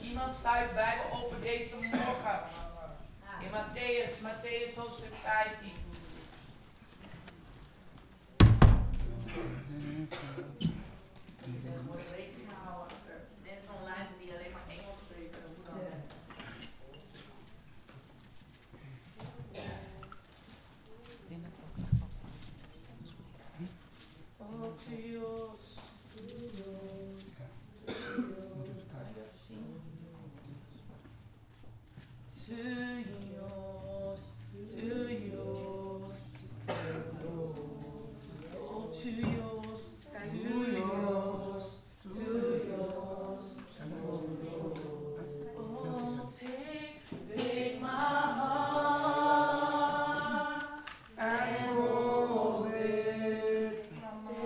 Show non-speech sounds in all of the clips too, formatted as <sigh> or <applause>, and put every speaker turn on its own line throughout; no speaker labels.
niemand sluit Bijbel open deze morgen. In Matthäus, Matthäus hoofdstuk 15. Er wordt rekening gehouden als er mensen online zijn die alleen maar Engels spreken. Hoe dan? Oh, Theos. Kan je even zien? Theos, Theos. Oh, Theos, Theos, Theos. Oh, take, take my heart and hold it.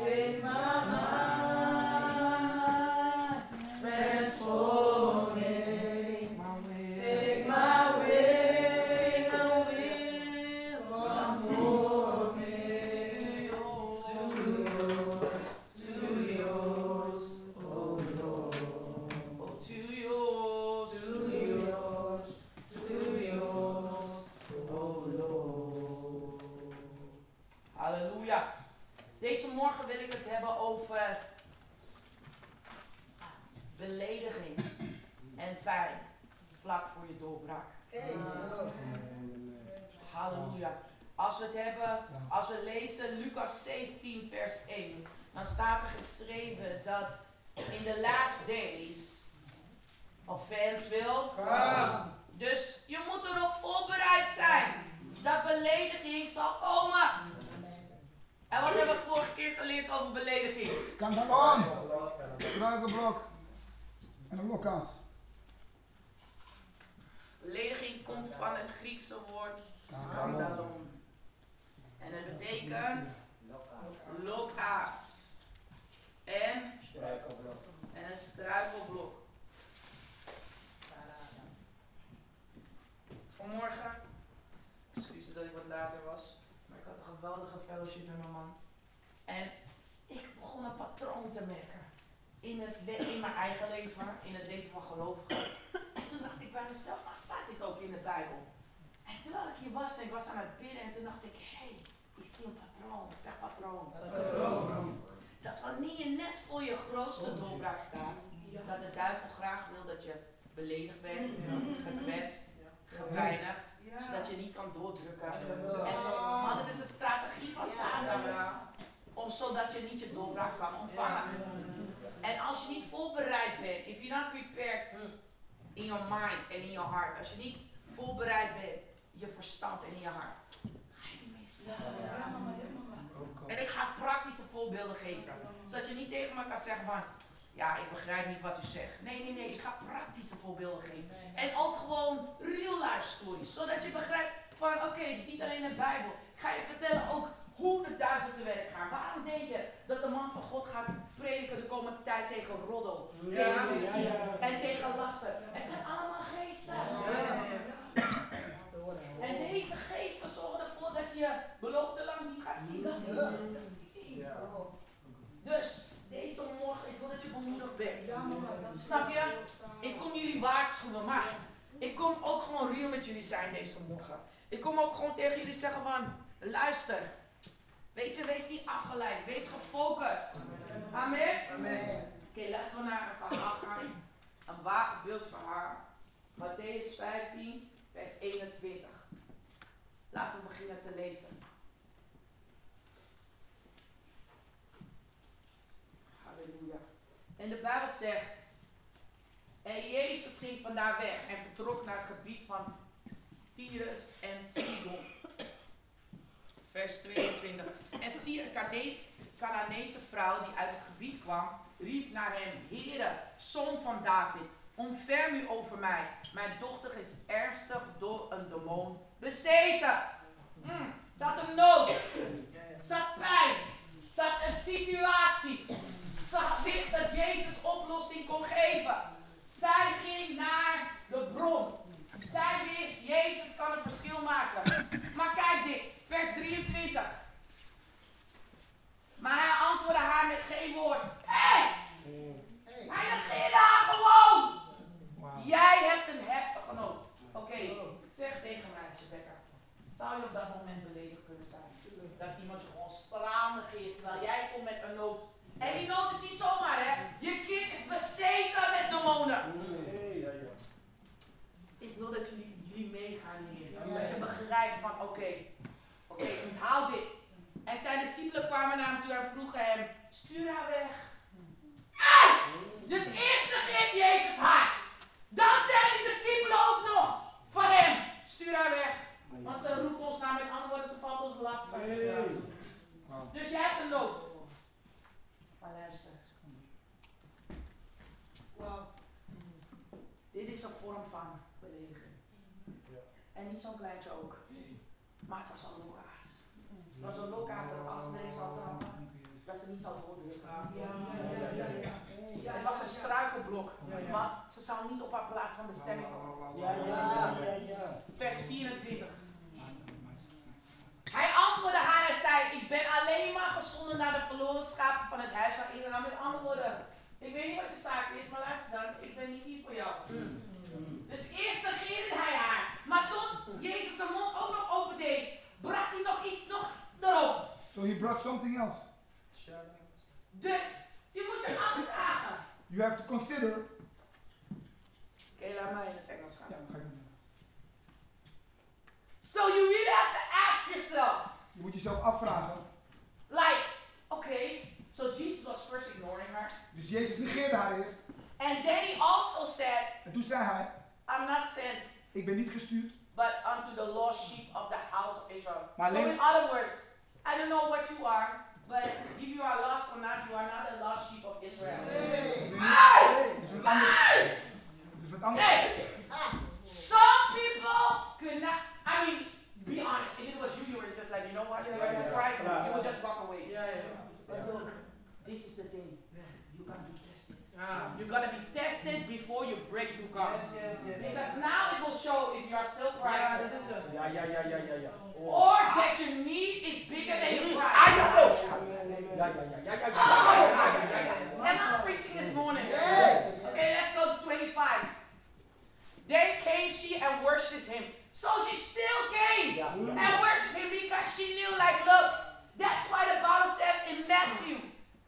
Take my mind, transform it. Take my will, take my will, conform it to yours, to yours, oh Lord. Oh, to yours, to yours, to yours, oh Lord. Halleluja. Deze morgen wil ik het hebben over belediging en pijn vlak voor je doorbraak. Halleluja. Als we het hebben, als we lezen Lucas 17 vers 1, dan staat er geschreven dat in the last days offense will come. Dus je moet erop voorbereid zijn dat belediging zal komen. En wat hebben we vorige keer geleerd over belediging?
Kan dat aan? Kruikenblok. En een lokkaas.
Belediging komt van het Griekse woord skandalon. En dat betekent lokaas. En, en een struikelblok. Vanmorgen, excuses dat ik wat later was, maar ik had een geweldige fellowship met mijn man. En ik begon een patroon te merken. In, het le- in mijn eigen leven, in het leven van gelovigen. En toen dacht ik bij mezelf, maar staat dit ook in de Bijbel? En terwijl ik hier was en ik was aan het bidden en toen dacht ik, hé, hey, ik zie een patroon. Ik Zeg patroon. Dat wanneer je net voor je grootste doorbraak staat, dat de duivel graag wil dat je beledigd bent, eh, gekwetst, gepijnigd, zodat je niet kan doordrukken. En zo, maar dat is een strategie van Satan, om zodat je niet je doorbraak kan ontvangen. En als je niet voorbereid bent, if you're not prepared hm, in your mind en in your heart, als je niet voorbereid bent, je verstand en in je hart, ga je niet missen. En ik ga praktische voorbeelden geven. Zodat je niet tegen me kan zeggen van, ja, ik begrijp niet wat u zegt. Nee, nee, nee, ik ga praktische voorbeelden geven. En ook gewoon real life stories. Zodat je begrijpt van, oké, het is niet alleen de Bijbel. Ik ga je vertellen ook hoe de duivel te werk gaat. Waarom denk je dat de man van God gaat prediken de komende tijd tegen roddel? tegen En tegen lasten. Het zijn allemaal geesten. En deze geesten zorgen ervoor dat je je beloofde land niet gaat zien. Dat is het. Dus deze morgen, ik wil dat je bemoedigd bent. Snap je? Ik kom jullie waarschuwen, maar ik kom ook gewoon real met jullie zijn deze morgen. Ik kom ook gewoon tegen jullie zeggen van, luister. Weet je, wees niet afgeleid, wees gefocust. Amen? Oké, laten we naar een verhaal gaan. Een wagenbeeld verhaal. Matthäus 15, vers 21. Laten we beginnen te lezen. Halleluja. En de Bijbel zegt, en Jezus ging vandaar weg en vertrok naar het gebied van Tyrus en Sidon. Vers 22. En zie een Kane- Canaanese vrouw die uit het gebied kwam, riep naar hem, Heere, zoon van David, ontferm u over mij. Mijn dochter is ernstig door een demon bezeten. Mm, ze had een nood, ze had pijn, ze had een situatie. Ze wist dat Jezus oplossing kon geven. Zij ging naar de bron. Zij wist, Jezus kan een verschil maken. Maar kijk dit, vers 23. Maar hij antwoordde haar met geen woord. Hé, hey, hij negeerde haar gewoon. Jij Ja.
Nee, ja, ja.
Ik wil dat jullie, jullie meegaan hier.
Ja.
Dat je begrijpt van, oké, oké, onthoud dit. En zijn discipelen kwamen naar hem toe en vroegen hem, stuur haar weg. Dus eerst negeert Jezus haar. Dan zijn die discipelen ook nog van hem, stuur haar weg. Want ze roept ons naar, met andere woorden, ze valt ons lastig.
Nee.
Dus jij hebt een nood. Maar luister. Wauw. Dit is een vorm van belediging.
Ja.
En niet zo'n kleintje ook. Maar het was al lokaas. Het was al lokaas dat als ze erin zou trappen, dat ze niet zou doordrukken.
Ja, ja, ja, ja.
Ja, het was een struikelblok.
Ja, ja.
Maar ze zou niet op haar plaats van
Nou.
bestemming komen.
Ja, ja, ja, ja, ja.
Vers 24. Hij antwoordde haar en zei: Ik ben alleen maar gezonden naar de verloren schapen van het huis van Israël. Met andere woorden, ik weet niet wat je zaak is, maar luister dan, ik ben niet hier voor jou. Dus eerst negeerde hij haar. Maar toen Jezus zijn mond ook nog opendeed, bracht hij nog iets nog erop.
So he brought something else.
Dus je moet je afvragen.
You have to consider.
Oké, laat mij in het Engels gaan.
Ja, dan ga ik niet.
So you really have to ask yourself.
Je moet jezelf afvragen.
Like, okay, so Jesus was first ignoring her.
Dus Jezus negeerde haar eerst.
And then he also said,
En toen zei hij:
I'm not sent
Ik ben niet gestuurd.
but unto the lost sheep of the house of Israel.
My
so
name-
in other words, I don't know what you are, but if you are lost or not, you are not the lost sheep of Israel.
Dus met andere, dus met andere,
Hey! Some people could not I mean, be honest, if it was you, you were just like, you know what, you're
Yeah, yeah,
prideful,
yeah.
you would just walk away.
Ja, ja.
But look, this is the thing. You gotta be tested. You're gonna be tested before your breakthrough comes.
Ah. Yes, yes, yes.
Because now it will show if you are still
Ja,
prideful
dat is hem.
Ja, ja, ja, ja, ja, ja.
or that your need is bigger than your pride.
Ah, ja, wel. Ja, ja, ja, ja, ja, ja, ja, ja, ja, ja, ja.
Am I preaching this morning?
Yes.
Okay, let's go to 25. Then came she and worshipped him. So she still came
Ja, ja.
and worshipped him because she knew, like, look, that's why the Bible said in Matthew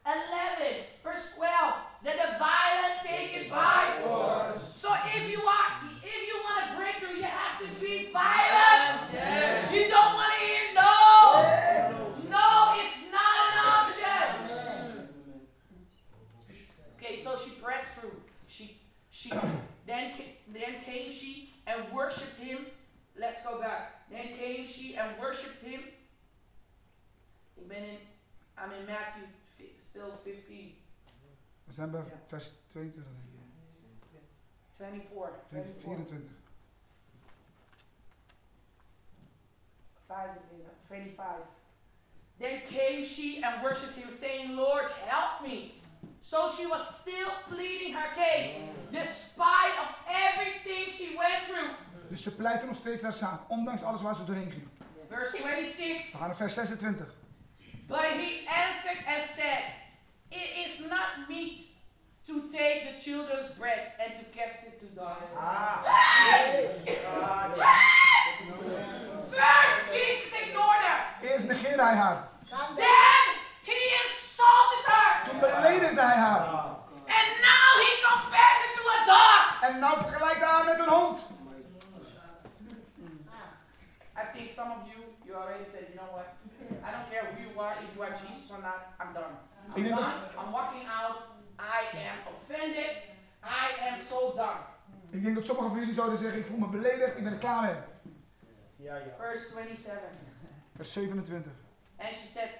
11, verse 12, that the violent take it by force. So if you are, if you want to break through, you have to be violent.
Yes.
You don't want to hear no. No, it's not an option. Okay, so she pressed through. She she <coughs> then ca- then came she and worshipped him. Let's go back. Then came she and worshipped him. Ik ben in, I'm in Matthew fi- still 15,
we zijn bij vers 22, denk ik.
24,
20,
24,
24.
25, 25. Then came she and worshipped him, saying, Lord, help me. So she was still pleading her case, despite of everything she went through.
Dus ze pleitte nog steeds haar zaak, ondanks alles waar ze doorheen ging.
Verse 26.
We gaan naar vers 26.
But he answered and said, It is not meet to take the children's bread and to cast it to dogs. First, Jesus ignored her.
Eerst negeerde hij haar.
Then, he insulted her.
Toen beledigde hij haar.
And now he compares it to a dog.
En nou vergelijkt hij haar met een hond.
I think some of you, you already said, you know what? I don't care who you are, if you are Jesus or not, I'm done. I'm
Even-
done. I'm walking out. I am offended. I am so done.
Ik denk dat sommigen van jullie zouden zeggen, ik voel me beledigd, ik ben er klaar mee.
Ja, ja.
Verse 27.
Vers 27.
And she said,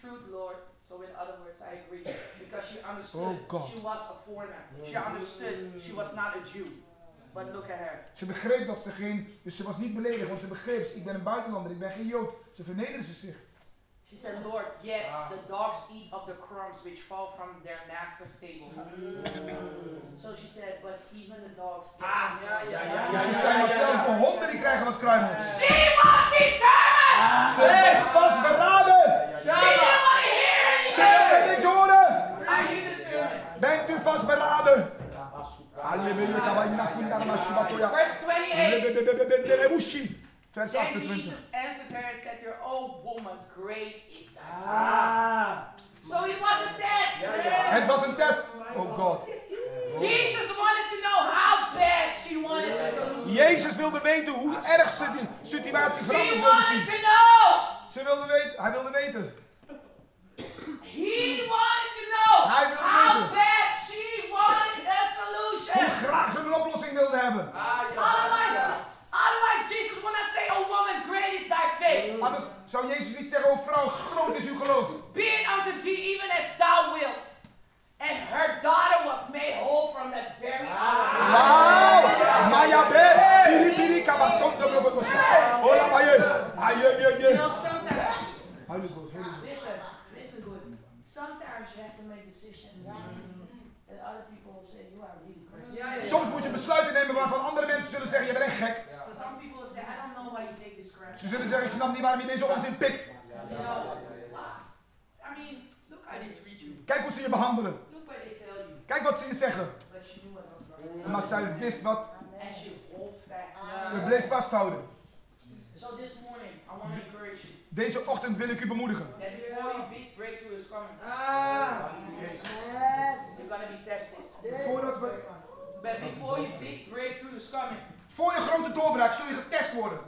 Truth, Lord. So, in other words, I agree. Because she understood
Oh, God.
she was a foreigner. She understood she was not a Jew. But look at her.
Ze begreep dat ze geen, dus ze was niet beledigd, want ze begreep, ik ben een buitenlander, ik ben geen Jood. Ze vernederde ze zich.
She said, Lord, yet
Ah.
the dogs eat of the crumbs which fall from their master's table.
Ah.
So she said, But even the dogs. eat
Ah,
some crumbs."
ja, ja,
Dus
ja,
ze
ja.
zijn nog zelfs de honden die krijgen wat kruimels.
She was determined!
Ze was vastberaden!
She didn't want to hear
Ze
anything!
wilde niks horen!
Are you determined?
Bent u vastberaden? Halleluja, kawaina, kunda, mashibatoya.
Verse 28.
Rebebebebebebeushi. Vers
Then
28.
Jesus answered her and said, Your old woman, great is thy faith."
Ah.
So it was a test.
Yeah, yeah.
Het was een test. Oh God.
Jesus wanted to know
Jezus wilde weten hoe erg ze die situatie
She
veranderd wilde
wanted
zien.
to know.
Ze wilde weten, hij wilde weten.
He wanted to know
Hij wilde
how
weten.
bad she wanted a
Hoe
solution.
graag ze een oplossing wilde hebben.
Otherwise, otherwise Jesus will not say, "Oh woman, great is thy faith.
Anders zou Jezus niet zeggen, oh vrouw, groot is uw geloof.
Be it unto thee even as thou wilt." And her daughter was made whole from that very hour.
Wauw! Mayabe! Piri piri kabasson de bobo. Hola paye! Aye aye
You
aye!
know, sometimes.
Holy Ghost, Holy Ghost.
Listen, listen good. Sometimes you have to make decisions that other people will say you are really crazy.
Ja, ja, ja.
Soms moet je besluiten nemen waarvan andere mensen zullen zeggen, je bent echt gek.
Some people will say, I don't know why you take this crap.
Ze zullen zeggen, ik snap niet waarom je deze onzin pikt.
Wow. I mean, look how they treat you.
Kijk hoe ze je behandelen.
Look what they tell you.
Kijk wat ze je zeggen.
But she knew what was wrong.
Maar zij wist wat.
And she hold fast.
Ze bleef vasthouden.
So this morning, I want to encourage you
Deze ochtend wil ik u bemoedigen.
that before your big breakthrough is coming, you're going to be tested.
Voordat we,
But before your big breakthrough is coming,
voor je grote doorbraak zul je getest worden.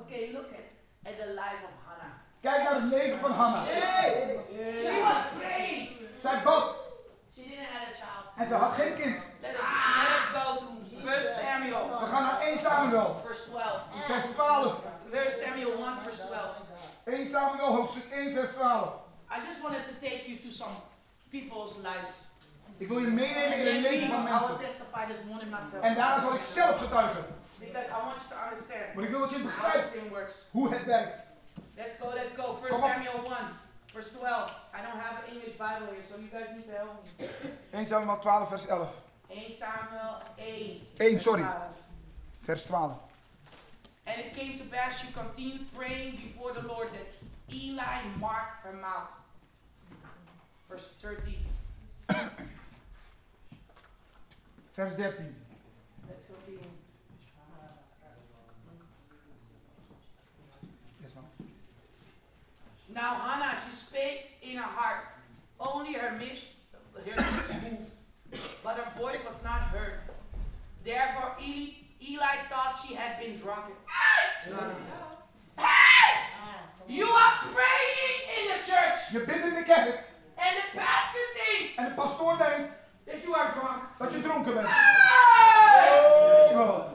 okay, look at, at the life of Hannah.
Kijk naar het leven van Hannah.
She was praying.
Zij bad
She didn't have a child.
en ze had geen kind.
Let us, let us go to 1 Samuel,
We gaan naar 1 Samuel,
verse 12.
vers 12.
1 Samuel 1, verse 12.
1 Samuel, hoofdstuk 1, vers 12.
I just wanted to take you to some people's life.
Ik wil je meenemen in het
And
leven
then
van
I will
mensen.
testify this morning myself.
En daarna zal ik zelf getuigen.
Because I want you to understand
Want ik wil dat je
how this
begrijpt
thing works.
hoe het werkt.
Let's go, let's go. 1
Come on.
Samuel 1, verse 12. I don't have an English Bible here, so you guys need to help me.
1 Samuel 12, vers 11.
1 Samuel 8.
1,
verse
sorry.
12.
Vers 12.
And it came to pass she continued praying before the Lord that Eli marked her mouth. Verse 30.
Vers 13.
Let's go reading.
Yes, ma'am.
Now Hannah, she spake in her heart. Only her lips, her lips moved, but her voice was not heard. Therefore Eli, Eli thought she had been drunken. You are praying in the church,
Je bent in de kerk
and the pastor thinks
en de pastoor denkt
that you are drunk.
dat je dronken bent.
Hey!
Oh,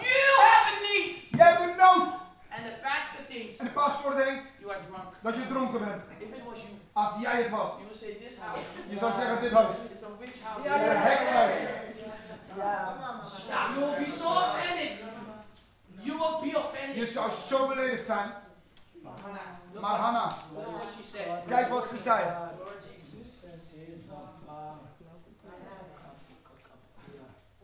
You have a need,
je hebt een nood.
and the pastor thinks
En de pastoor denkt
you are drunk.
dat je dronken bent.
If it was you,
Als jij het was.
you would say this house
Je zou zeggen dit huis.
is a witch house.
Een hekshuis.
Stop. You will be so offended. You will be
Je
offended.
zou zo beledigd zijn.
Hannah, look
Maar
what-
Hanna,
Look what she said.
kijk wat ze zei.
Lord Jesus.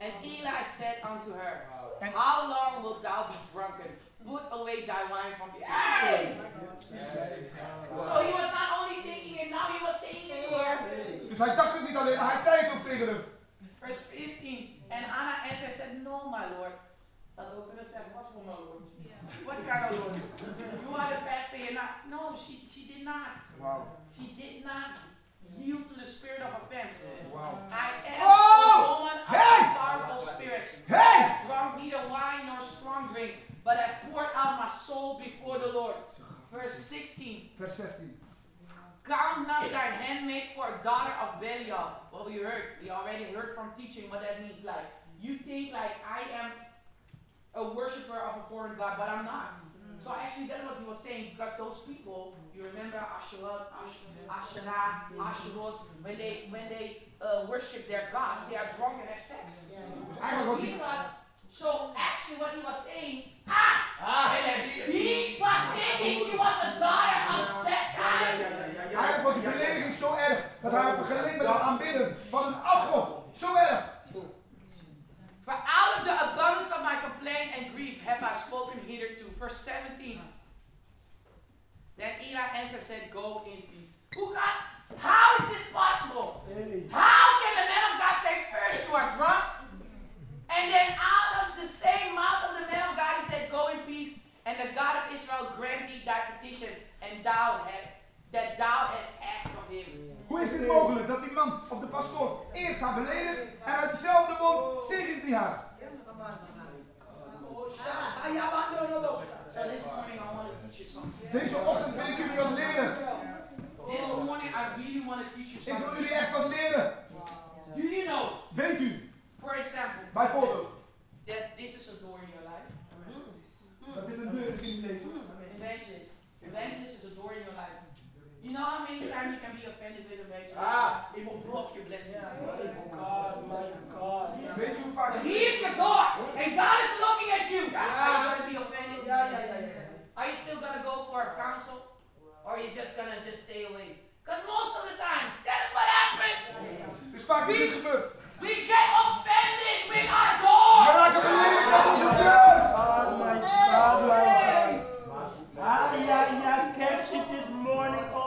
And Eli said unto her,
And-
How long wilt thou be drunken? Put away thy wine from me. Hey! So he was not only thinking it, now he was saying it to her.
Dus hij dacht het niet alleen, maar hij zei het ook tegen hem.
Verse 15. And Hannah answered and said, No, my lord. Staat ook in de zin, wat voor mijn lord? What kind of lord? You are the pastor, you're not. No, she, she did not.
Wauw.
She did not yield to the spirit of offense.
Wauw.
I am
Oh!
a woman of
Hey!
a sorrowful spirit.
Hey!
I drunk neither wine nor strong drink, but I poured out my soul before the Lord. Verse 16.
Vers 16.
Count not thy handmaid for a daughter of Belial. Well, you heard, we already heard from teaching what that means. Like, you think like I am a worshiper of a foreign god, but I'm not. So actually, that was he was saying because those people, you remember Asherot, Ash- Asherah, Asherot, when they when they uh, worship their gods, they are drunk and have sex.
Dus eigenlijk
So
was
he
hij.
thought. So actually, what he was saying, ah, he was thinking she was a daughter of that kind.
Eigenlijk was die belediging zo erg dat hij haar vergeleek met het aanbidden van een afgod. Zo erg.
For out of the abundance of my complaint and grief have I spoken hitherto. Verse 17. Then Eli answered and said, Go in peace. Who God? How is this possible? How can the man of God say, First you are drunk? And then out of the same mouth of the man of God he said, Go in peace, and the God of Israel grant thee thy petition, and thou have that thou hast asked of him.
Hoe is het mogelijk dat die man of de pastoor eerst haar beledigt en uit dezelfde op 17 jaar.
So this morning I want to teach you something.
Deze ochtend wil ik jullie wat leren.
This morning I really want to teach you
Ik wil
something.
jullie echt wat leren.
Do you know,
Weet u,
for example,
bijvoorbeeld,
that this is a door in your life? Amen.
dat dit een deur is in je leven.
Evangelist. Evangelist is a door in your life. You know how many times you can be offended with evangelist?
Ah.
It will block your blessing.
Weet je hoe vaak
But
ik
he is your God, and God is looking at you. Are you gonna be offended? Are you still gonna go for a counsel, or are you just gonna just stay away? Because most of the time, that is what happened.
Dus vaak is dit gebeurd.
We get offended with our
We
God.
raken beledigd met onze deur. We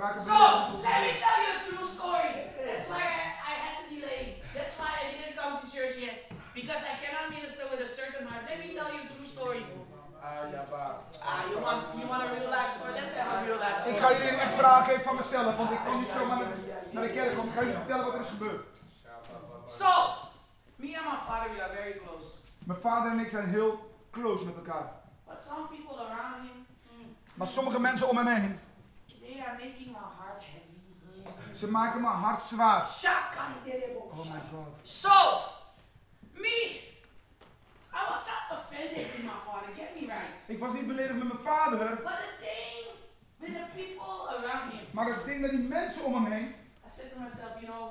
raken
So
beledigd.
let me tell you a true story. That's why I, I had to delay. That's why I didn't come to church yet, because I cannot minister with a certain heart. Let me tell you a true story. Ah, you want you want a real life story? Let's have a real life story.
Ik ga jullie een echt verhaal geven van mezelf, want ik kom niet zomaar naar de- naar de kerk om. Ik ga jullie vertellen wat er is gebeurd.
So, me and my father, we are very close.
Mijn vader en ik zijn heel close met elkaar.
But some people around him,
Maar sommige mensen om hem heen,
they are making my heart heavy.
ze maken mijn hart zwaar. Oh my
Shaka.
god.
So, me, I was not offended with my father, get me right.
Ik was niet beledigd met mijn vader,
But the thing with the people around him,
maar het ding met die mensen om hem heen.
I said to myself, you know,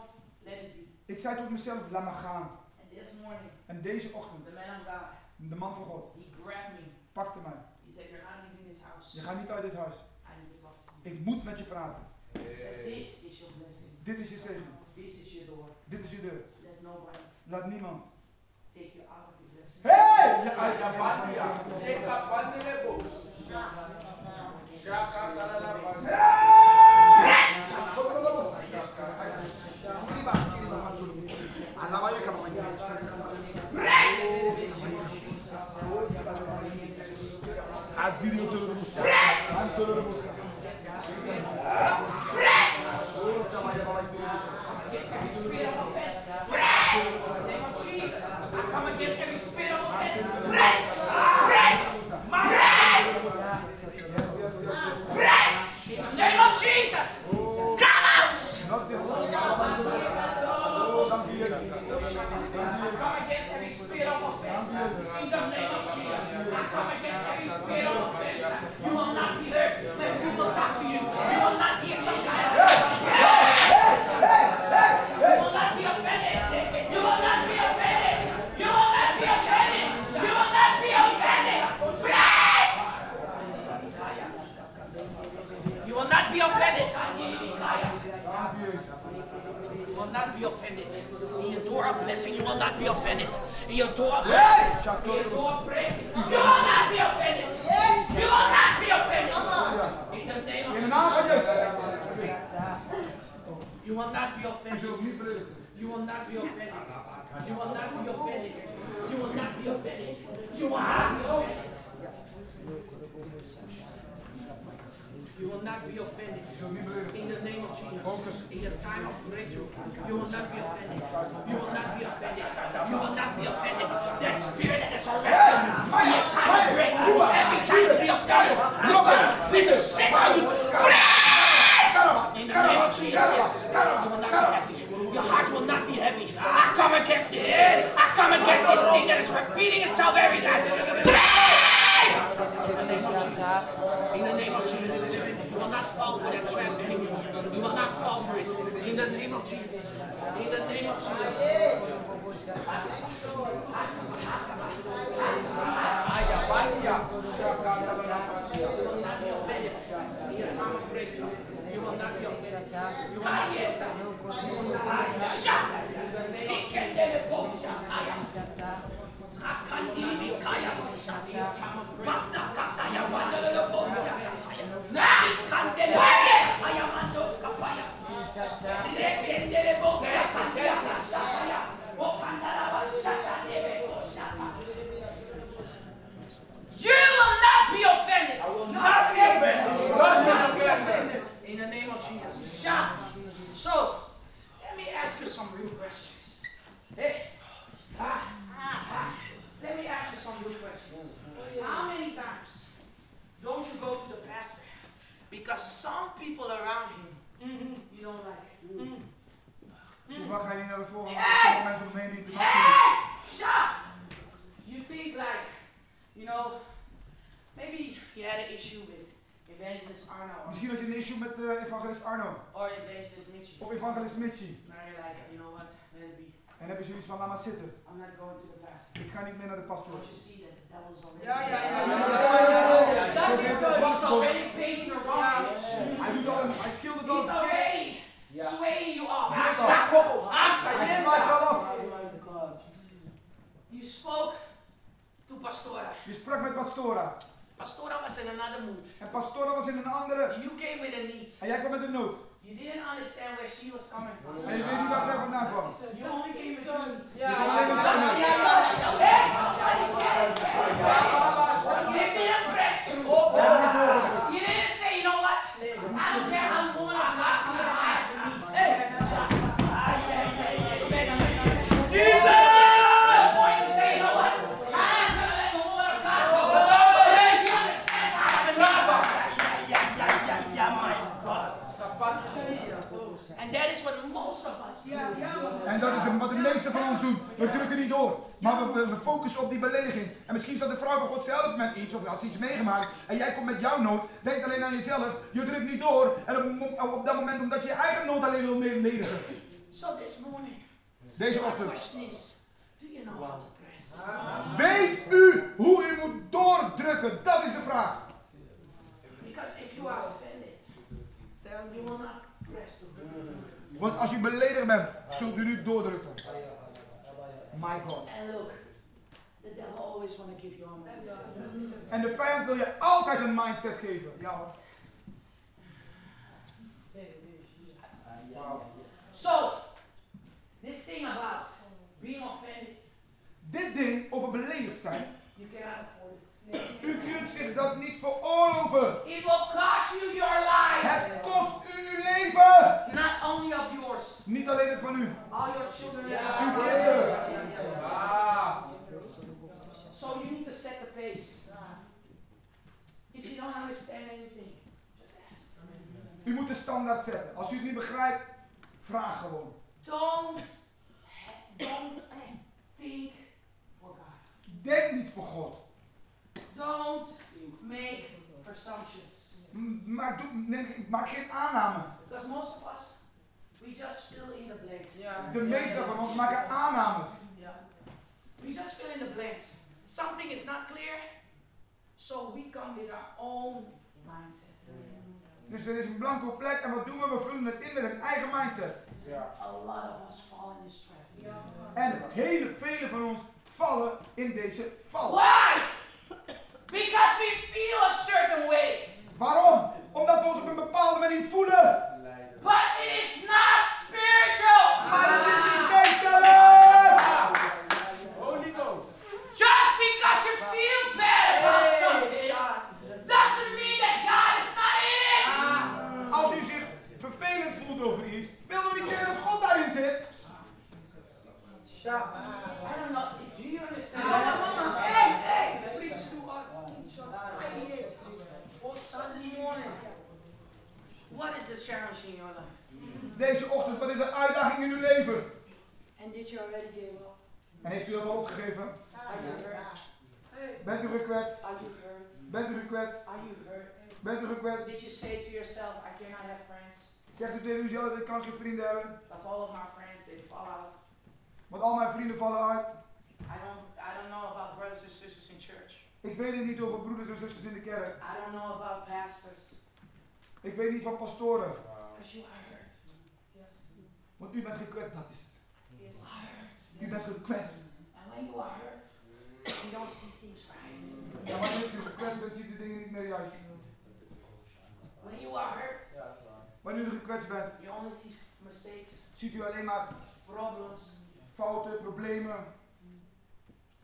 let it be.
Ik zei tot mezelf, laat maar gaan.
And this morning,
En deze ochtend,
the man of God,
de man van God,
he grabbed me.
pakte mij.
He said, you're not leaving this house.
Je gaat niet uit dit huis.
I need to talk to you.
Ik moet met je praten.
He said, this is your blessing.
Dit is je zegen.
This is your door.
Dit is je deur.
Let nobody
Laat niemand.
take you out of your blessing.
Hey!
against every spirit of offense. Break! In the name of Jesus, I come against every spirit of offense. Break! Break! Break! Break! In the name of Jesus, come out! I come against every spirit of offense. In the name of Jesus, I come against every spirit of offense. You will not be hurt when people talk to you. You will not hear some kind of You will not be offended. You will not be offended. You will not be offended. You will not be offended. Pray! You will not be offended. You will not be offended. In your door of blessing, you will not be offended. In your door of blessing, in your door of praise, you will not be offended. You will not be offended. In the name of
In de
Jesus,
naam van Jezus.
you will not be
Je
offended.
zult niet beledigd zijn.
You will not be offended. You will not be offended. You will not be offended. You will not be offended. You will not be offended. In the name of Jesus. In your time of breakthrough, you will not be offended. You will not be offended. You will not be offended. That spirit that is arresting you. In your time of breakthrough, every time to be offended. To God, we just sit on you. In the name of Jesus, you will not be heavy. Your heart will not be heavy. I come against this thing. I come against this thing that is repeating itself every time. Break! In the name of Jesus. In the name of Jesus. You will not fall for that trap anymore. You will not fall for it. In the name of Jesus. In the name of Jesus. You will not be offended. In your time of breakthrough, you will not be offended. You will not be offended. You will not be offended. Not be offended. Not be offended. In the name of Jesus. Shout. So, let me ask you some real questions. Hey, Because some people around you, you don't like.
Hoe vaak ga je naar de volgende? Er zijn mensen omheen die het maken.
Yeah. You think like, you know, maybe you had an issue with Evangelist Arno
Misschien had je een issue met eh, evangelist Arno
or, or Evangelist Mitchell.
of evangelist Mitchie.
Now you're like, you know what? Let it be.
En dan heb je zoiets van, laat maar zitten.
I'm not going to the past.
Ik ga niet meer naar de pastoor.
Don't you see that the devil's already?
Ja, ja, ja,
ja,
ja.
ja,
That is so. He's
Ja.
already faking the rock.
Hij doet al een, hij schildert al.
He's already
Ja.
swaying you off.
Ja.
Ja, koppels.
Hij slaat je al af.
You spoke to Pastora.
Je sprak met Pastora.
Pastora was in another mood.
En Pastora was in een andere.
You came with a need.
En jij kwam met een nood.
You didn't understand where she was coming from.
En je weet niet waar zij vandaan kwam.
You only came with two.
Ja,
Je kwam alleen maar
Ja,
met
ja,
een nood.
ja, ja. You didn't press him. You didn't say, you know what? I don't care how long I'm not going to hide from me. Hey. That's why you say, you know what? I'm gonna let the woman of God go. She understands how to love. And that is what most of us do.
En dat is wat de meeste van ons doen. We drukken niet door. Maar we, we- we focussen op die belediging. En misschien zat de vrouw van God zelf met iets of had ze iets meegemaakt. En jij komt met jouw nood. Denk alleen aan jezelf. Je drukt niet door. En op, mo- op dat moment omdat je je eigen nood alleen wil beledigen.
So this morning,
Deze
my
ochtend.
question is, do you know how to press?
Weet u hoe u moet doordrukken? Dat is de vraag.
Because if you are offended, you will not press the button.
Want als u beledigd bent, zult u nu doordrukken. My God.
And look, the devil always want to give you a message.
En de vijand wil je altijd een mindset geven. Ja hoor.
So, this thing about being offended,
Dit ding over beledigd zijn.
you cannot afford it.
U kunt zich dat niet veroorloven.
It will cost you your life,
Het kost u uw leven!
not only of yours,
Niet alleen het van u.
all your children.
Uw
Yeah.
kinderen.
So you need to set the pace. If you don't understand anything, just ask.
U moet de standaard zetten. Als u het niet begrijpt, vraag gewoon.
Don't, don't think for God.
Denk niet voor God.
Don't make presumptions.
M- Maak, doe- neem- maak geen aanname.
Because most of us, we just fill in the blanks.
De meeste van ons maken aannames.
Yeah. We just fill in the blanks. Something is not clear, so we come with our own mindset.
Dus er is een blanco plek en wat doen we? We vullen het in met een eigen mindset.
A lot of us fall in this trap.
En hele vele van ons vallen in deze val.
Why? Because we feel a certain way,
Waarom? Omdat we ons op een bepaalde manier voelen.
but it is not spiritual.
Maar dat is niet geestelijk!
Just because you feel bad about something doesn't mean that God is not in it.
Als u zich vervelend voelt over iets, wil u niet zeggen dat God daarin zit.
I don't know. Do you understand? So this morning, what is the challenge in your life?
Deze ochtend, wat is de uitdaging in uw leven?
And did you already give up?
En heeft u dat al opgegeven?
Are you hurt?
Bent u gekwetst?
Are you hurt?
Bent u gekwetst?
Are you hurt?
Bent u gekwetst?
Did you say to yourself, I cannot have friends?
Zegt u tegen uzelf, ik kan geen vrienden hebben.
Because all of my friends they fall out.
Want al mijn vrienden vallen uit.
I don't I don't know about brothers and sisters in church.
Ik weet het niet over broeders en zusters in de kerk.
I don't know about pastors.
Ik weet niet van pastoren.
Because you are hurt. Yes.
Want u bent gekwetst, dat is het.
You are hurt.
U bent gekwetst.
And when you are hurt, you don't see things right.
En wanneer u gekwetst bent, ziet u dingen niet meer juist.
When you are hurt,
Wanneer u gekwetst bent,
you only see mistakes,
ziet u alleen maar
problems.
fouten, problemen.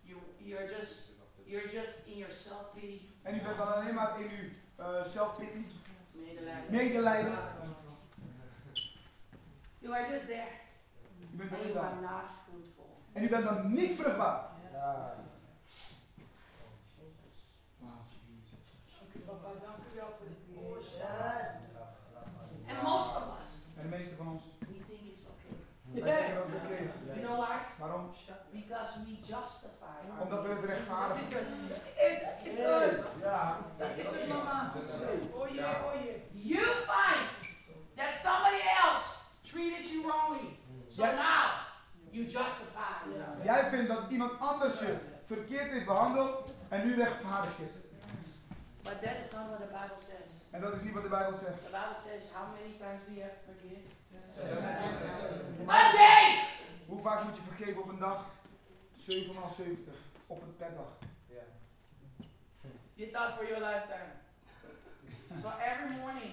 You you're just you're just in your self pity.
En u bent dan alleen maar in uw eh zelfpity,
Medelijden.
medelijden.
You are just there.
U bent
And
alleen
you are
daar.
not fruitful.
En u bent dan niet vruchtbaar.
Ja.
You know why?
Waarom?
Because we justify. our-
Omdat we het
Dat
rechtvaardig
is het. Het is het. Dat is het, mama. You find that somebody else treated you wrongly. So
Ja.
now you justify. it.
Jij vindt dat iemand anders je verkeerd heeft behandeld en nu rechtvaardig je.
But that is not what the Bible says.
En dat is niet wat de Bijbel zegt.
The Bible says how many times we have to forgive. A day!
Hoe vaak moet je vergeven op een dag? 7 x 70 op een per dag.
You thought for your lifetime. So every morning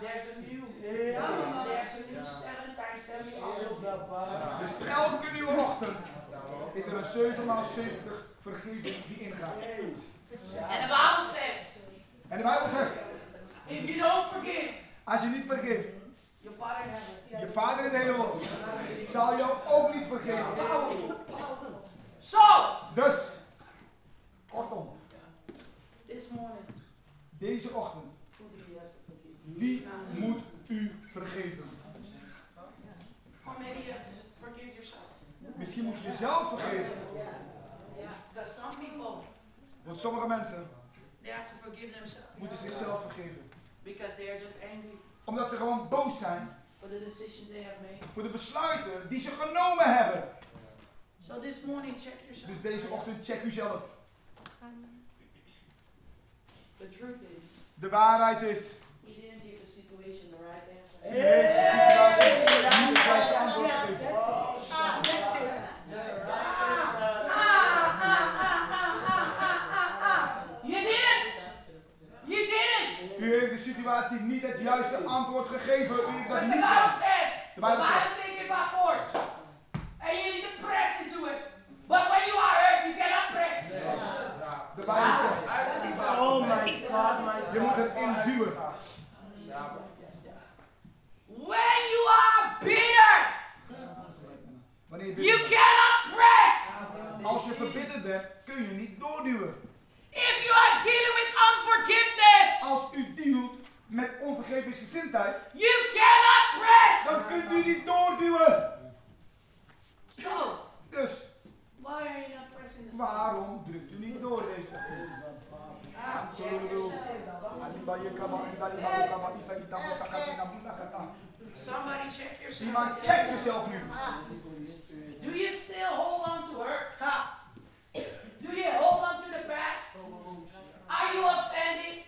there's a new, there's a new seven times seven hours.
Dus elke nieuwe ochtend is er een 7 x 70 vergeving die ingaat.
And the Bible says
En de Bijbel zegt,
if you don't forgive,
als je niet vergeeft,
your father in heaven.
je vader in de hemel zal jou ook niet vergeven.
So
Dus, kortom,
this morning,
deze ochtend,
who do you have to forgive?
wie moet u vergeven?
Or maybe you have to forgive yourself.
Misschien moet je jezelf vergeven.
Because some people,
Want sommige mensen
they have to forgive themselves
moeten zichzelf vergeven.
because they are just angry
Omdat ze gewoon boos zijn
for the decision they have made.
voor de besluiten die ze genomen hebben.
So this morning, check yourself.
Dus deze ochtend check uzelf.
The truth is,
De waarheid is.
he didn't give the situation the right answer.
Jezus, Jezus, niet het juiste antwoord gegeven.
Ah, You didn't! You didn't!
U heeft de situatie niet het juiste antwoord gegeven. U heeft dat
Because
niet
the Bible
gedaan.
says, the
The Bible
Bible take it by force. And you need to press into it. But when you are hurt, you cannot press.
De Bijbel zegt, je moet het induwen.
When you are bitter,
Wanneer je
you
bitter bent.
cannot press.
Als je verbitterd bent, kun je niet doorduwen.
If you are dealing with unforgiveness,
Als u dealt met onvergeven gezindheid,
you cannot press.
dan kunt u niet doorduwen.
So,
Dus
why are you not pressing this?
waarom drukt u niet door deze ochtend?
Ah, check yourself. Somebody check
Iemand
yourself.
check jezelf nu.
Do you still hold on to hurt? Ha. Do you hold on to the past? Are you offended?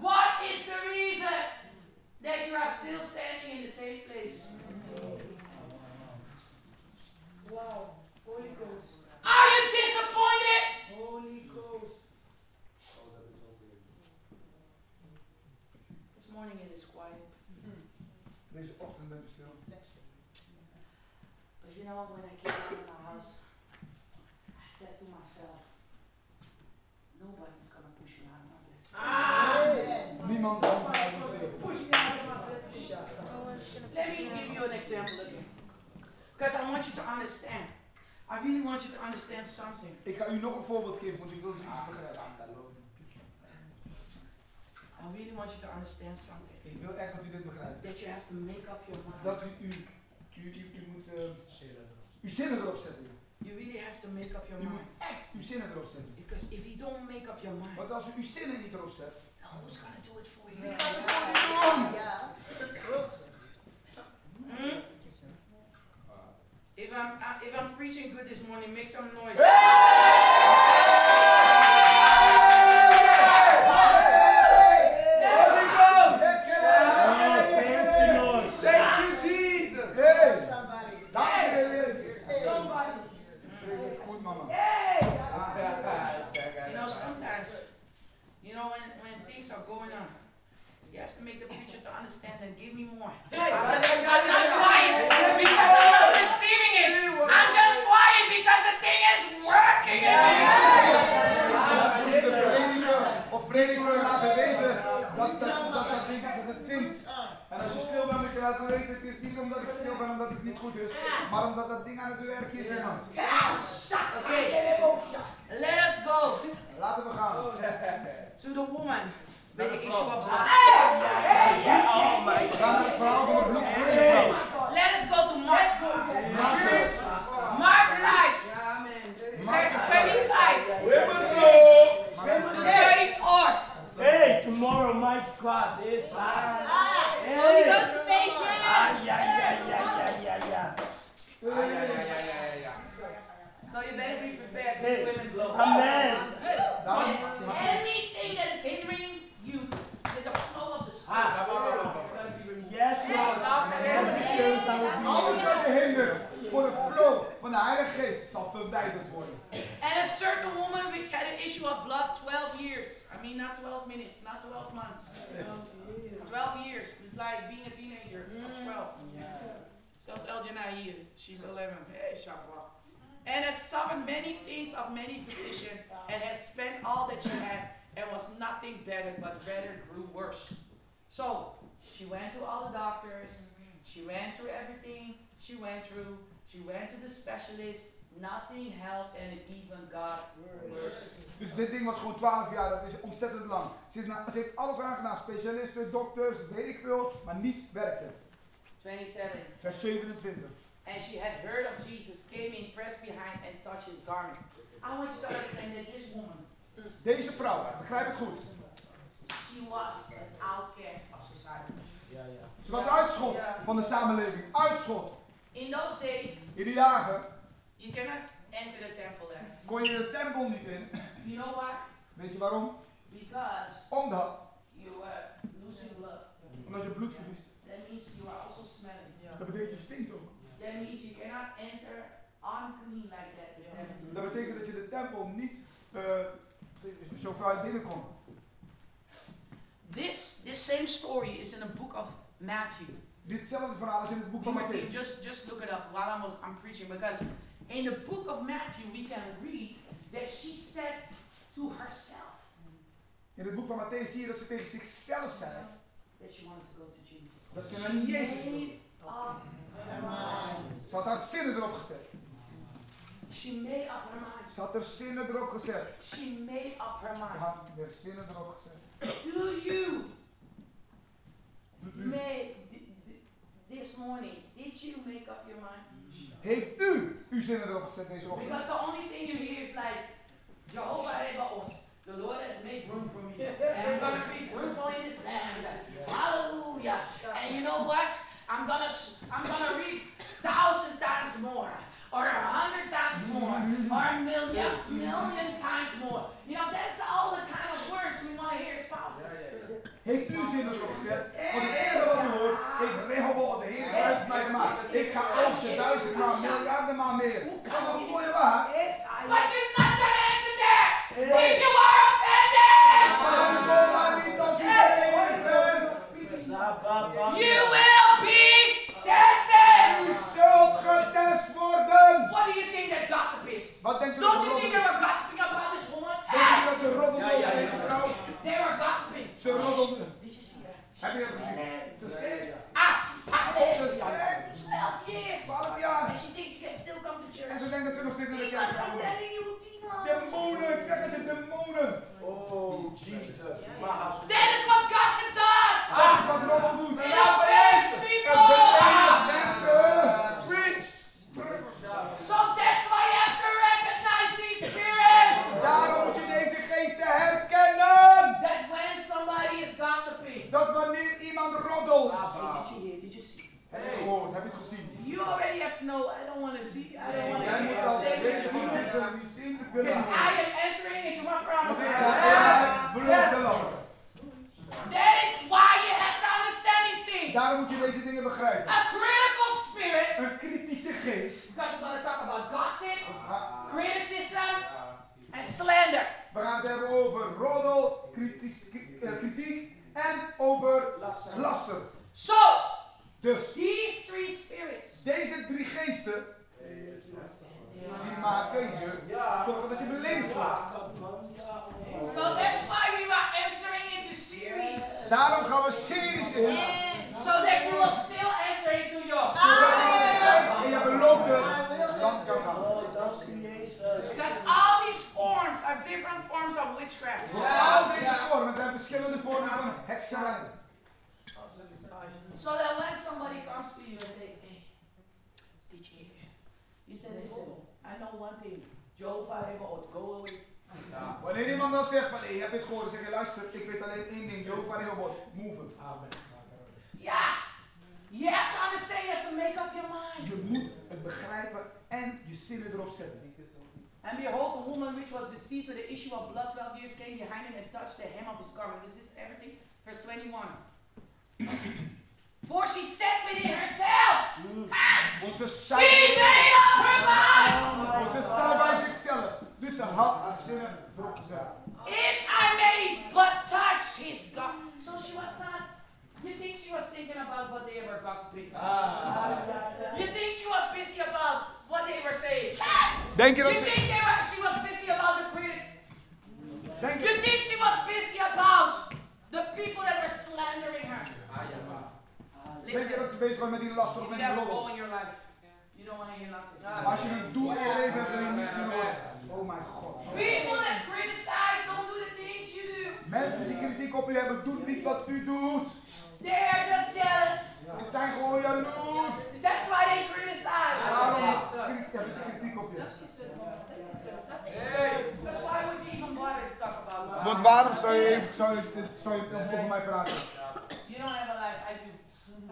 What is the reason that you are still standing in the same place? Are you disappointed? This morning it is quiet,
Deze ochtend ben ik stil.
but you know when I came out of my house, I said to myself, nobody's gonna push me out of my place.
Niemand kan mij forceren.
Let me give you an example again. Because I want you to understand. I really want you to understand something.
Ik ga u nog een voorbeeld geven, want ik wil het niet begrijpen.
I really want you to understand something.
Ik wil echt dat u dit begrijpt.
That you have to make up your mind.
Dat u, u, u, u, u moet eh, uw zinnen erop zetten.
You really have to make up your
You
mind.
Uw zinnen erop zetten.
Because if you don't make up your mind,
Want als u uw zinnen niet erop zet,
then who's gonna do it for
dan
you?
gaat het ook niet doen.
Hmm? If I'm I- if I'm preaching good this morning, make some noise. You know, sometimes, you know, when, when things are going on, you have to make the preacher to understand and give me more. Because I'm not quiet because I'm not receiving it. I'm just quiet because the thing is working in me.
Of prediker laten weten dat dat dat dat ding dat het zingt. En als je stil bent, moet je laten weten. Het is niet omdat ik stil ben, omdat het niet goed is, maar omdat dat ding aan het werk is. man.
Okay, let us go
Laten we gaan.
to the woman with the issue of blood.
We gaan naar het verhaal van de bloedverlichte vrouw.
Let us go to Let's go. Mark 5,
Ja, man.
verse 25 to 34.
Hey, tomorrow my God is high.
Holy Ghost feestje!
Ah, ja, ja, ja, ja, ja, ja.
So you better be prepared for the women blow.
Amen.
Anything that is hindering you, to the flow of the spirit,
Ah.
is going to be removed.
Yes, Lord. Yes, I will be-
Alles wat je hindert voor de flow van de Heilige Geest zal verwijderd worden.
And a certain woman which had an issue of blood 12 years. I mean, not 12 minutes, not 12 months. 12 years. It's like being a teenager of 12. Zelfs Eljana here, she's 11. Hey, sharp rock. And had suffered many things of many physicians, and had spent all that she had, and was nothing better, but rather grew worse. So she went to all the doctors, she ran through everything she went through, she went to the specialist, nothing helped, and it even got worse.
Dus dit ding was gewoon 12 jaar, dat is ontzettend lang. Ze heeft, na- ze heeft alles aangedaan, specialisten, dokters, weet ik veel, maar niets werkte.
27.
Vers 27.
and she had heard of Jesus, came in, pressed behind, and touched his garment. I want you to understand that this woman,
Deze vrouw, begrijp het goed,
she was an outcast of society.
ze was uitschot van de samenleving. Uitschot.
In those days,
In de jaren
you cannot enter the temple there.
kon je de tempel niet in.
You know why?
Weet je waarom?
Because
Omdat,
you were losing blood.
omdat je bloed verliest.
That means you are also smelling.
Dat betekent je stinkt ook.
That means you cannot enter unclean like that. the temple.
Dat betekent dat je de tempel niet eh, zo ver binnenkomt.
This this same story is in the book of Matthew.
Ditzelfde verhaal is in het boek van
Human team,
Matthäus.
just just look it up while I was I'm preaching because in the book of Matthew we can read that she said to herself
In het boek van Matthäus zie je dat ze tegen zichzelf zei.
that she wanted to go to Jesus.
Dat ze naar Jezus
She
wilde.
made up her mind.
Ze had haar zinnen erop gezet.
She made up her mind.
Ze had haar zinnen erop gezet.
She made up her
Ze
mind.
had haar zinnen erop gezet.
Do you
Doet u-
make th- th- this morning? Did you make up your mind?
Heeft u uw zinnen erop gezet deze ochtend?
Because the only thing you hear is like Jehovah Rebaoth. The Lord has made room for me. And I'm gonna be fruitful in this land. Hallelujah. And you know what? I'm gonna s- I'm gonna reap thousand times more. Or a hundred times more, or a million, million times more. You know, that's all the kind of words we want to hear is powerful.
Heeft u uw zinnen erop gezet? Want het enige wat u hoort is Rehoboam, de Heer uit mij gemaakt. Ik ga oogsten duizend maal, miljarden maal meer. Hoe kan dat mooie waar?
But you're not gonna enter there if
Hey.
you are offended.
Maar u komt maar niet als u de Heer bent.
Ba, ba, ba.
You will be tested.
U zult getest worden!
What do you think that gossip is?
Wat denkt u dat
Don't
ze
you think
roddelen?
they were gossiping about this woman?
Denkt u
Hey,
dat ze roddelen over
Ja, ja, ja.
deze vrouw?
they were gossiping.
Ze roddelen.
Did you see that?
Heb je dat gezien? Ze zegt,
Ah, she's
ze
had
zegt,
12 years.
12 jaar.
And she thinks she can still come to
En
church.
ze denkt dat ze nog steeds in de kerk
Demons,
gaan
I'm
worden.
telling you, demons.
Demonen, ik zeg het, de demonen.
Oh, Jesus. Maar
That is what gossip does.
Dat is wat roddel doet.
It offends people.
Dat mensen. Preach.
So that's why you have to recognize these spirits.
Daarom moet je deze geesten herkennen.
That when somebody is gossiping,
Dat wanneer iemand roddelt.
did you hear? Did you see?
Heb je het gehoord? Heb je het gezien?
You already have to know. I don't want to see. I don't want to
Jij moet als weet wie
hear.
niet wil, wie zien niet wil.
Because I am entering into my promise.
Ja, belooft wel.
That is why you have to understand these things. A
Daarom moet je deze dingen begrijpen.
critical spirit,
Een kritische geest.
because we're going to talk about gossip,
Ha-
criticism, and slander.
We gaan het hebben over roddel, kritisch, kri- eh, kritiek en over laster.
So,
Dus
these three spirits,
deze drie geesten die maken je zorgen dat je beledigd wordt.
so that's why we are entering into series.
Daarom gaan we series in.
Yes.
So that you will still enter into your.
Zodat deze tijd in je
Ah,
beloofde land kan gaan.
Oh, dank u, Jezus.
Because all these forms are different forms of witchcraft.
Want al deze vormen zijn verschillende vormen van hekserij.
So that when somebody comes to you and say, hey, bitch here. You said, listen, I know one thing. Jehovah heeft God, go away.
Ja.
Wanneer iemand dan zegt van, hé, heb je het gehoord? Dan zeg je, luister, ik weet alleen één ding. Jehovah heel wat. Move it.
Amen.
Ja! You have to understand, you have to make up your mind.
Je moet het begrijpen en je zinnen erop zetten.
And behold, the woman which was deceived with the issue of blood twelve years came behind him and touched the hem of his garment. Is this everything? Verse 21. For she said within herself,
Onze
She
zij,
made up her mind.
onze zij bij zichzelf. Dus ze had haar zinnen erop gezet.
If I may but touch his garment. So she was not. You think she was thinking about what they were gossiping? You think she was busy about what they were saying?
Denk je
You
dat ze...
think they were, she was busy about the critics?
Denk je...
You think she was busy about the people that were slandering her?
Denk je
Listen,
dat ze bezig was met die last of
if
met
you
die
have a
roddel?
goal in your life, you don't want to hear nothing.
Als je het doel in je leven hebt, dan wil je niets meer horen. Oh mijn god.
People that criticize don't do the things you do.
Mensen die kritiek op u hebben, doet niet wat u doet.
They are just jealous.
Ze zijn gewoon jaloers.
That's why they criticize.
Daarom
That's it.
hebben ze kritiek op je.
Dat is het, man. Dat is het. Dat is het. That's why would you even bother to talk about love?
Want waarom zou je, zou je, dit- zou je dan tegen mij praten?
You don't have a life. I do.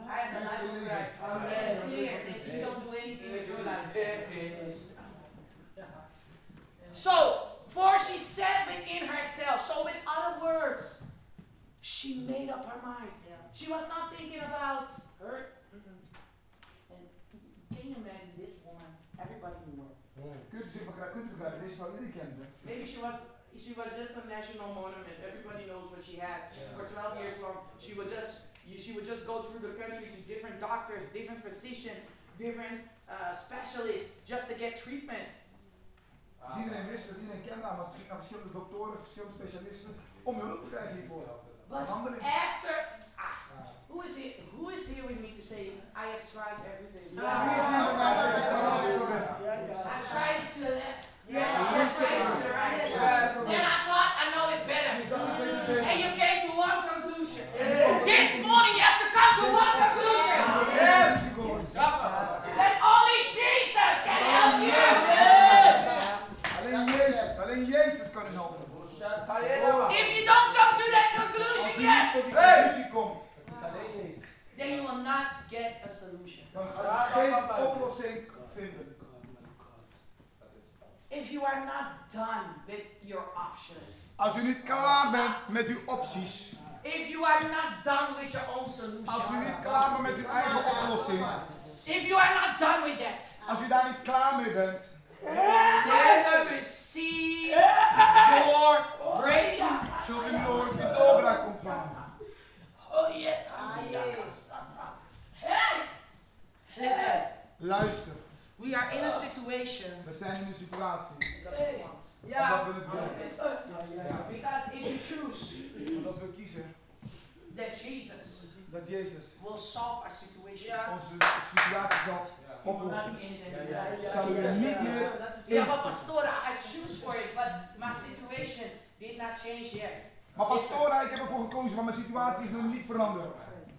I have a life of Christ. It's clear that you don't do anything with your life. So, for she said within herself, so in other words, she made up her mind. She was not thinking about her. Mm-hmm. And can you imagine this woman? Everybody knew her.
Kunt u zich begrijpen? Kunt u begrijpen? Dit is wat jullie kenden.
Maybe she was she was just a national monument. Everybody knows what she has. For 12 years long, she would just you, she would just go through the country to different doctors, different physicians, different uh, specialists just to get treatment.
Dus iedereen wist het, iedereen kende haar, want ze ging naar verschillende doktoren, verschillende specialisten om hulp te krijgen hiervoor.
But
Handeling.
after ah, who is here? Who is here with me to say I have tried everything?
Wie
Ah,
is hier met mij dat ik kan afspreken?
I tried it to the left.
Yes.
I tried it to the right.
Yes.
Then I thought I know it
Ik dacht, ik
better.
weet het beter.
And you came to one conclusion. This morning you have to come to one conclusion.
Yes, ik hoor het.
That only Jesus can help you.
Alleen Jezus, alleen Jezus kan u helpen.
If you don't come to that conclusion
Als u
yet,
niet tot die conclusie komt,
then you will not get a solution.
dan gaat u geen oplossing vinden.
If you are not done with your options,
Als u niet klaar bent met uw opties,
if you are not done with your own
als u
solution,
niet klaar bent met uw eigen oplossing,
if you are not done with that,
als u daar niet klaar mee bent,
Eh? never receive your breakthrough.
zult u nooit de doorbraak ontvangen.
Oh, yeah, Tommy, yeah, Satan. Hey! Listen,
Luister,
we are in a situation.
we zijn in een situatie.
Yeah.
Omdat we het willen.
Because if you choose
Want als we kiezen
that Jesus
dat Jezus
will solve our situation,
onze situatie zal
we will not
oplossen,
be in it
Yeah,
anymore.
yeah, yeah.
zal u er niet meer.
Yeah, but Pastora, I choose for it, but my situation did not change yet.
Maar pastora, ik heb ervoor gekozen, want mijn situatie is nog niet veranderd.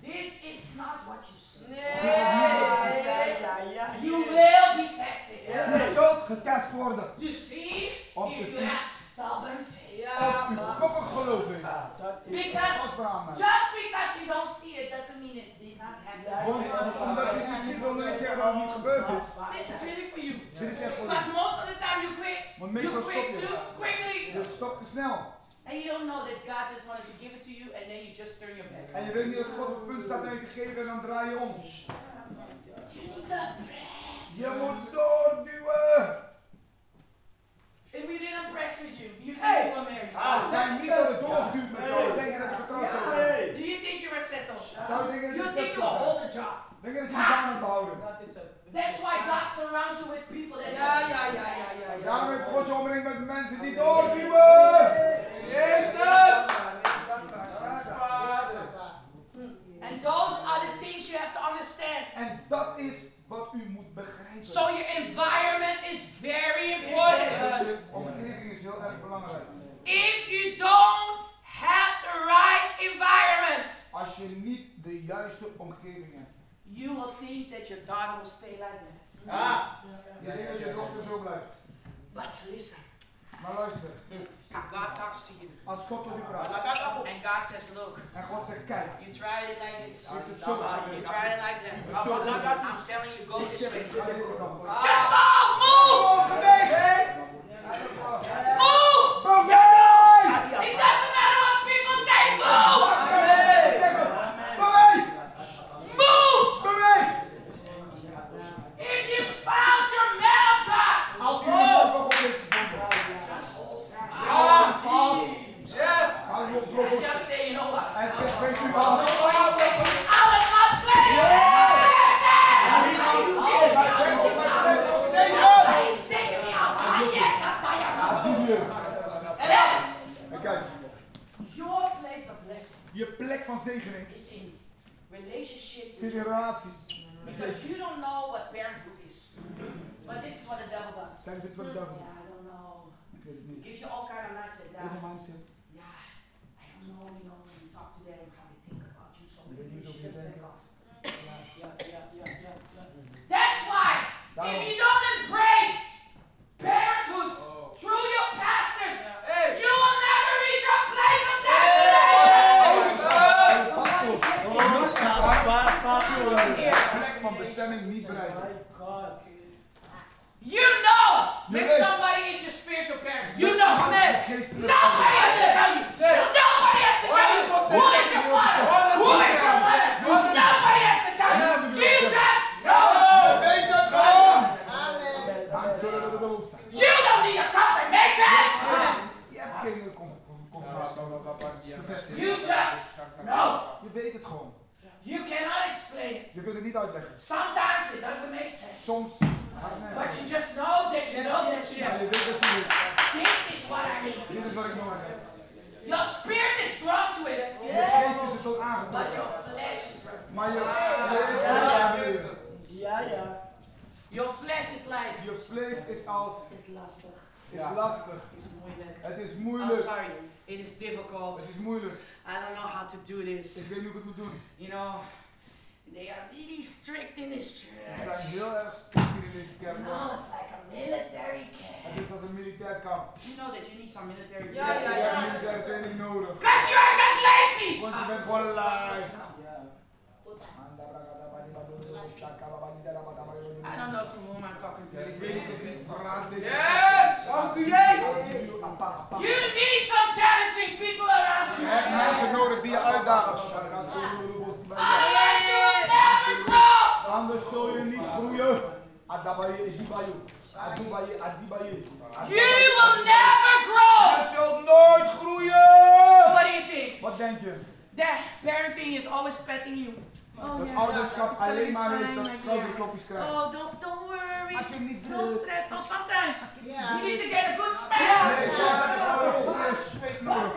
This is not what you see. You will
Yeah.
be tested.
Je zult getest worden
To see
om te
if you
zien
have stubborn faith.
of u koppig geloof heeft. Dat
Because
was veranderd.
just because you don't see it doesn't mean it did not happen.
Want omdat u het niet ziet, wil niet zeggen dat het niet gebeurd is.
This is really for you.
Dit is echt voor
Because
u.
most of the time you quit. You
Want meestal stop
quit too
je.
quickly.
Je stopt Dus te snel.
And you don't know that God just wanted to give it to you and then you just turn your back.
En je weet niet dat God op het punt staat en je gegeven en dan draai je om.
You need to press.
Je moet doorduwen.
If we didn't press with you, you
Hey.
were married.
Als wij niet hadden doorgeduwd met jou, denk je dat je getrouwd zou zijn.
Do you think you were settled?
Zou je denken Nou, dat je
You
getrouwd
think you will
zou zijn?
hold a job?
Denk je dat je je baan hebt behouden?
That's why God surrounds you with people that. Yeah, yeah, yeah, yeah, yeah.
Daarom heeft God je omringd met mensen die doorduwen.
And those are the things you have to understand.
En dat is wat u moet begrijpen.
So your environment is very important.
Dus je omgeving is heel erg belangrijk.
If you don't have the right environment,
Als je niet de juiste omgeving hebt,
you will think that your daughter will stay like this.
Ah,
Je denkt dat je dochter zo blijft.
But listen,
Maar luister,
God talks to you.
als God tot u praat
Alakatapos.
And God says, look,
en God zegt kijk,
you tried it like this.
ik het zo aan.
You tried it like that.
Alakatapos.
I'm telling you, go
Ik
this
zeg
way.
het, ga deze kant op.
Just go! Move!
Oh, bewegen!
Move!
Boom, jij!
It doesn't matter what people say. Move!
Beweeg!
Move!
Beweeg!
If you found your man of God,
Als u een man van God heeft gevonden,
ah,
vast,
yes.
ga je op
And
brokken.
just say, you know what?
En zeg, weet u wat?
Out of my place! Yes!
Als wij weg op mijn plek nog steeds zijn!
He's taking me out. I yet got tired.
Als die deur.
And then,
En kijk,
your place of blessing
je plek van zegening
is in relationship
is
with
in
your
relatie.
Because you don't know what parenthood is. But this is what the devil does.
Zijn dit van de
Yeah,
duivel?
I don't know.
Ik weet het niet.
Gives you all kind of mindset. Yeah,
Hoeveel mindset?
yeah. I don't know, you know, when you talk to them, how they think about you. So
They
maybe you
use
should
up
just
your
back
bank.
off. Yeah, yeah, yeah, yeah, yeah. That's why, if you don't embrace parenthood through your pastors, you will never reach your place of destination.
Hij is pastor.
Oh, Papa, Papa.
Plek van bestemming niet bereiken.
My God.
You know
You
when
know.
somebody is your spiritual parent. You know.
Je geestelijke
Nobody has to tell you. Nobody has to tell you who is your father, who is your mother. Nobody has to tell you. You just know.
Je weet het gewoon!
Amen.
Dank je dat het erop staat.
You don't need a confirmation.
Je hebt geen conf- confrontatie. Bevestiging.
You just know.
Je weet het gewoon.
You cannot explain it.
Je kunt het niet uitleggen.
Sometimes it doesn't make sense.
Soms.
But you just know that you know that you
Ja,
know.
je weet het niet.
This is what I need.
Dit is wat ik nodig heb.
Your spirit is drawn to it,
Je geest is het tot
but
aangetrokken.
your flesh is drawn.
Maar je. je- je- je-
Yeah, yeah.
Your flesh is like,
Je vlees is als.
it's lastig,
is lastig.
it's moeilijk.
Het is
I'm
moeilijk.
Oh, sorry, it is difficult.
Het is moeilijk.
I don't know how to do this.
Ik weet niet hoe ik het moet doen.
You know, they are really strict in this
Ze
church.
zijn heel erg strikt hier in deze
You
kerk.
know, it's like a military camp.
Het is als een militair kamp.
You know that you need some military
Ja,
Je
ja,
training.
hebt militaire training nodig.
Cause you are just lazy!
Want je bent gewoon lui.
I don't know to whom I'm talking
Ja, ik
to.
weet niet of die verraad is.
Yes! Dank u, Jezus.
Appa, appa.
You need some challenging people around
Je
you.
hebt mensen nodig die je uitdagen.
Otherwise you will never grow.
Anders zul je niet groeien. Adabaye, Zibaye, Adubaye, Adibaye.
You will never grow.
Je zult nooit
So
groeien!
what do you think?
Wat denk je?
That parenting is always petting you. Oh,
Dat
yeah, yeah,
ouderschap
it's gonna
alleen
be
maar
fine,
is dat
my
snel
dear.
die kopjes krijgt.
Oh, don't don't worry.
Maak je niet
No
druk.
stress. No, sometimes
Yeah.
you need to get a good
Nee, soms heb je
smell.
gewoon een goede zweet nodig.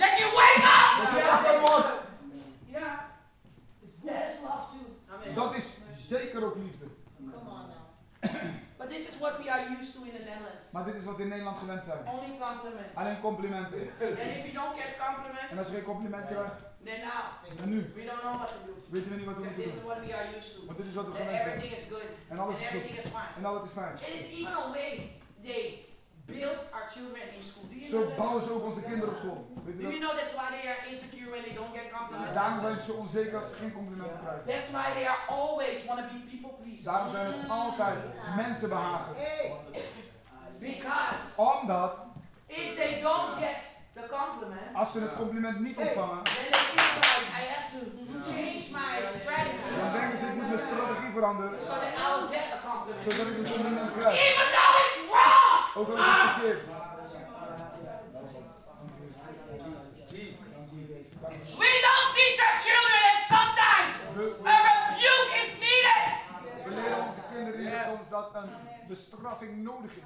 That you wake up.
Dat je wakker wordt.
Yeah. There's love too. Amen.
Dat is zeker ook liefde.
Come on now.
But this is what we are used to in the Netherlands.
Maar dit is wat we in Nederland gewend zijn.
Only compliments.
Alleen complimenten.
And if you don't get
En als
compliments,
je geen compliment krijgt,
then now
dan nu.
we don't know what to do.
Weten we niet wat we
Because
moeten
this is
doen.
what we are used to.
Want dit is wat we
That
gewend zijn.
everything is good
En
and
alles is goed.
everything is fine.
En alles is fijn.
It is even a way they build our children in school. Do you know
Zo
that?
bouwen ze ook onze kinderen op school. Weet je
Do
dat?
you know that's why they are insecure when they don't get compliments?
Daarom zijn ze onzeker als ze geen complimenten krijgen.
That's why they are always want to be people pleasers.
Daarom zijn het altijd mensen behagen.
Because
Omdat
if they don't get the compliment,
als ze het compliment niet ontvangen,
then they think like Mhm. I have to change my
dan
strategy
denken ze ik moet mijn strategie veranderen.
so that I will get a compliment.
Zodat ik een compliment krijg.
Even though it's wrong!
Ook al is het verkeerd.
We don't teach our children that sometimes a rebuke is needed.
We leren onze kinderen hier soms dat een bestraffing nodig is.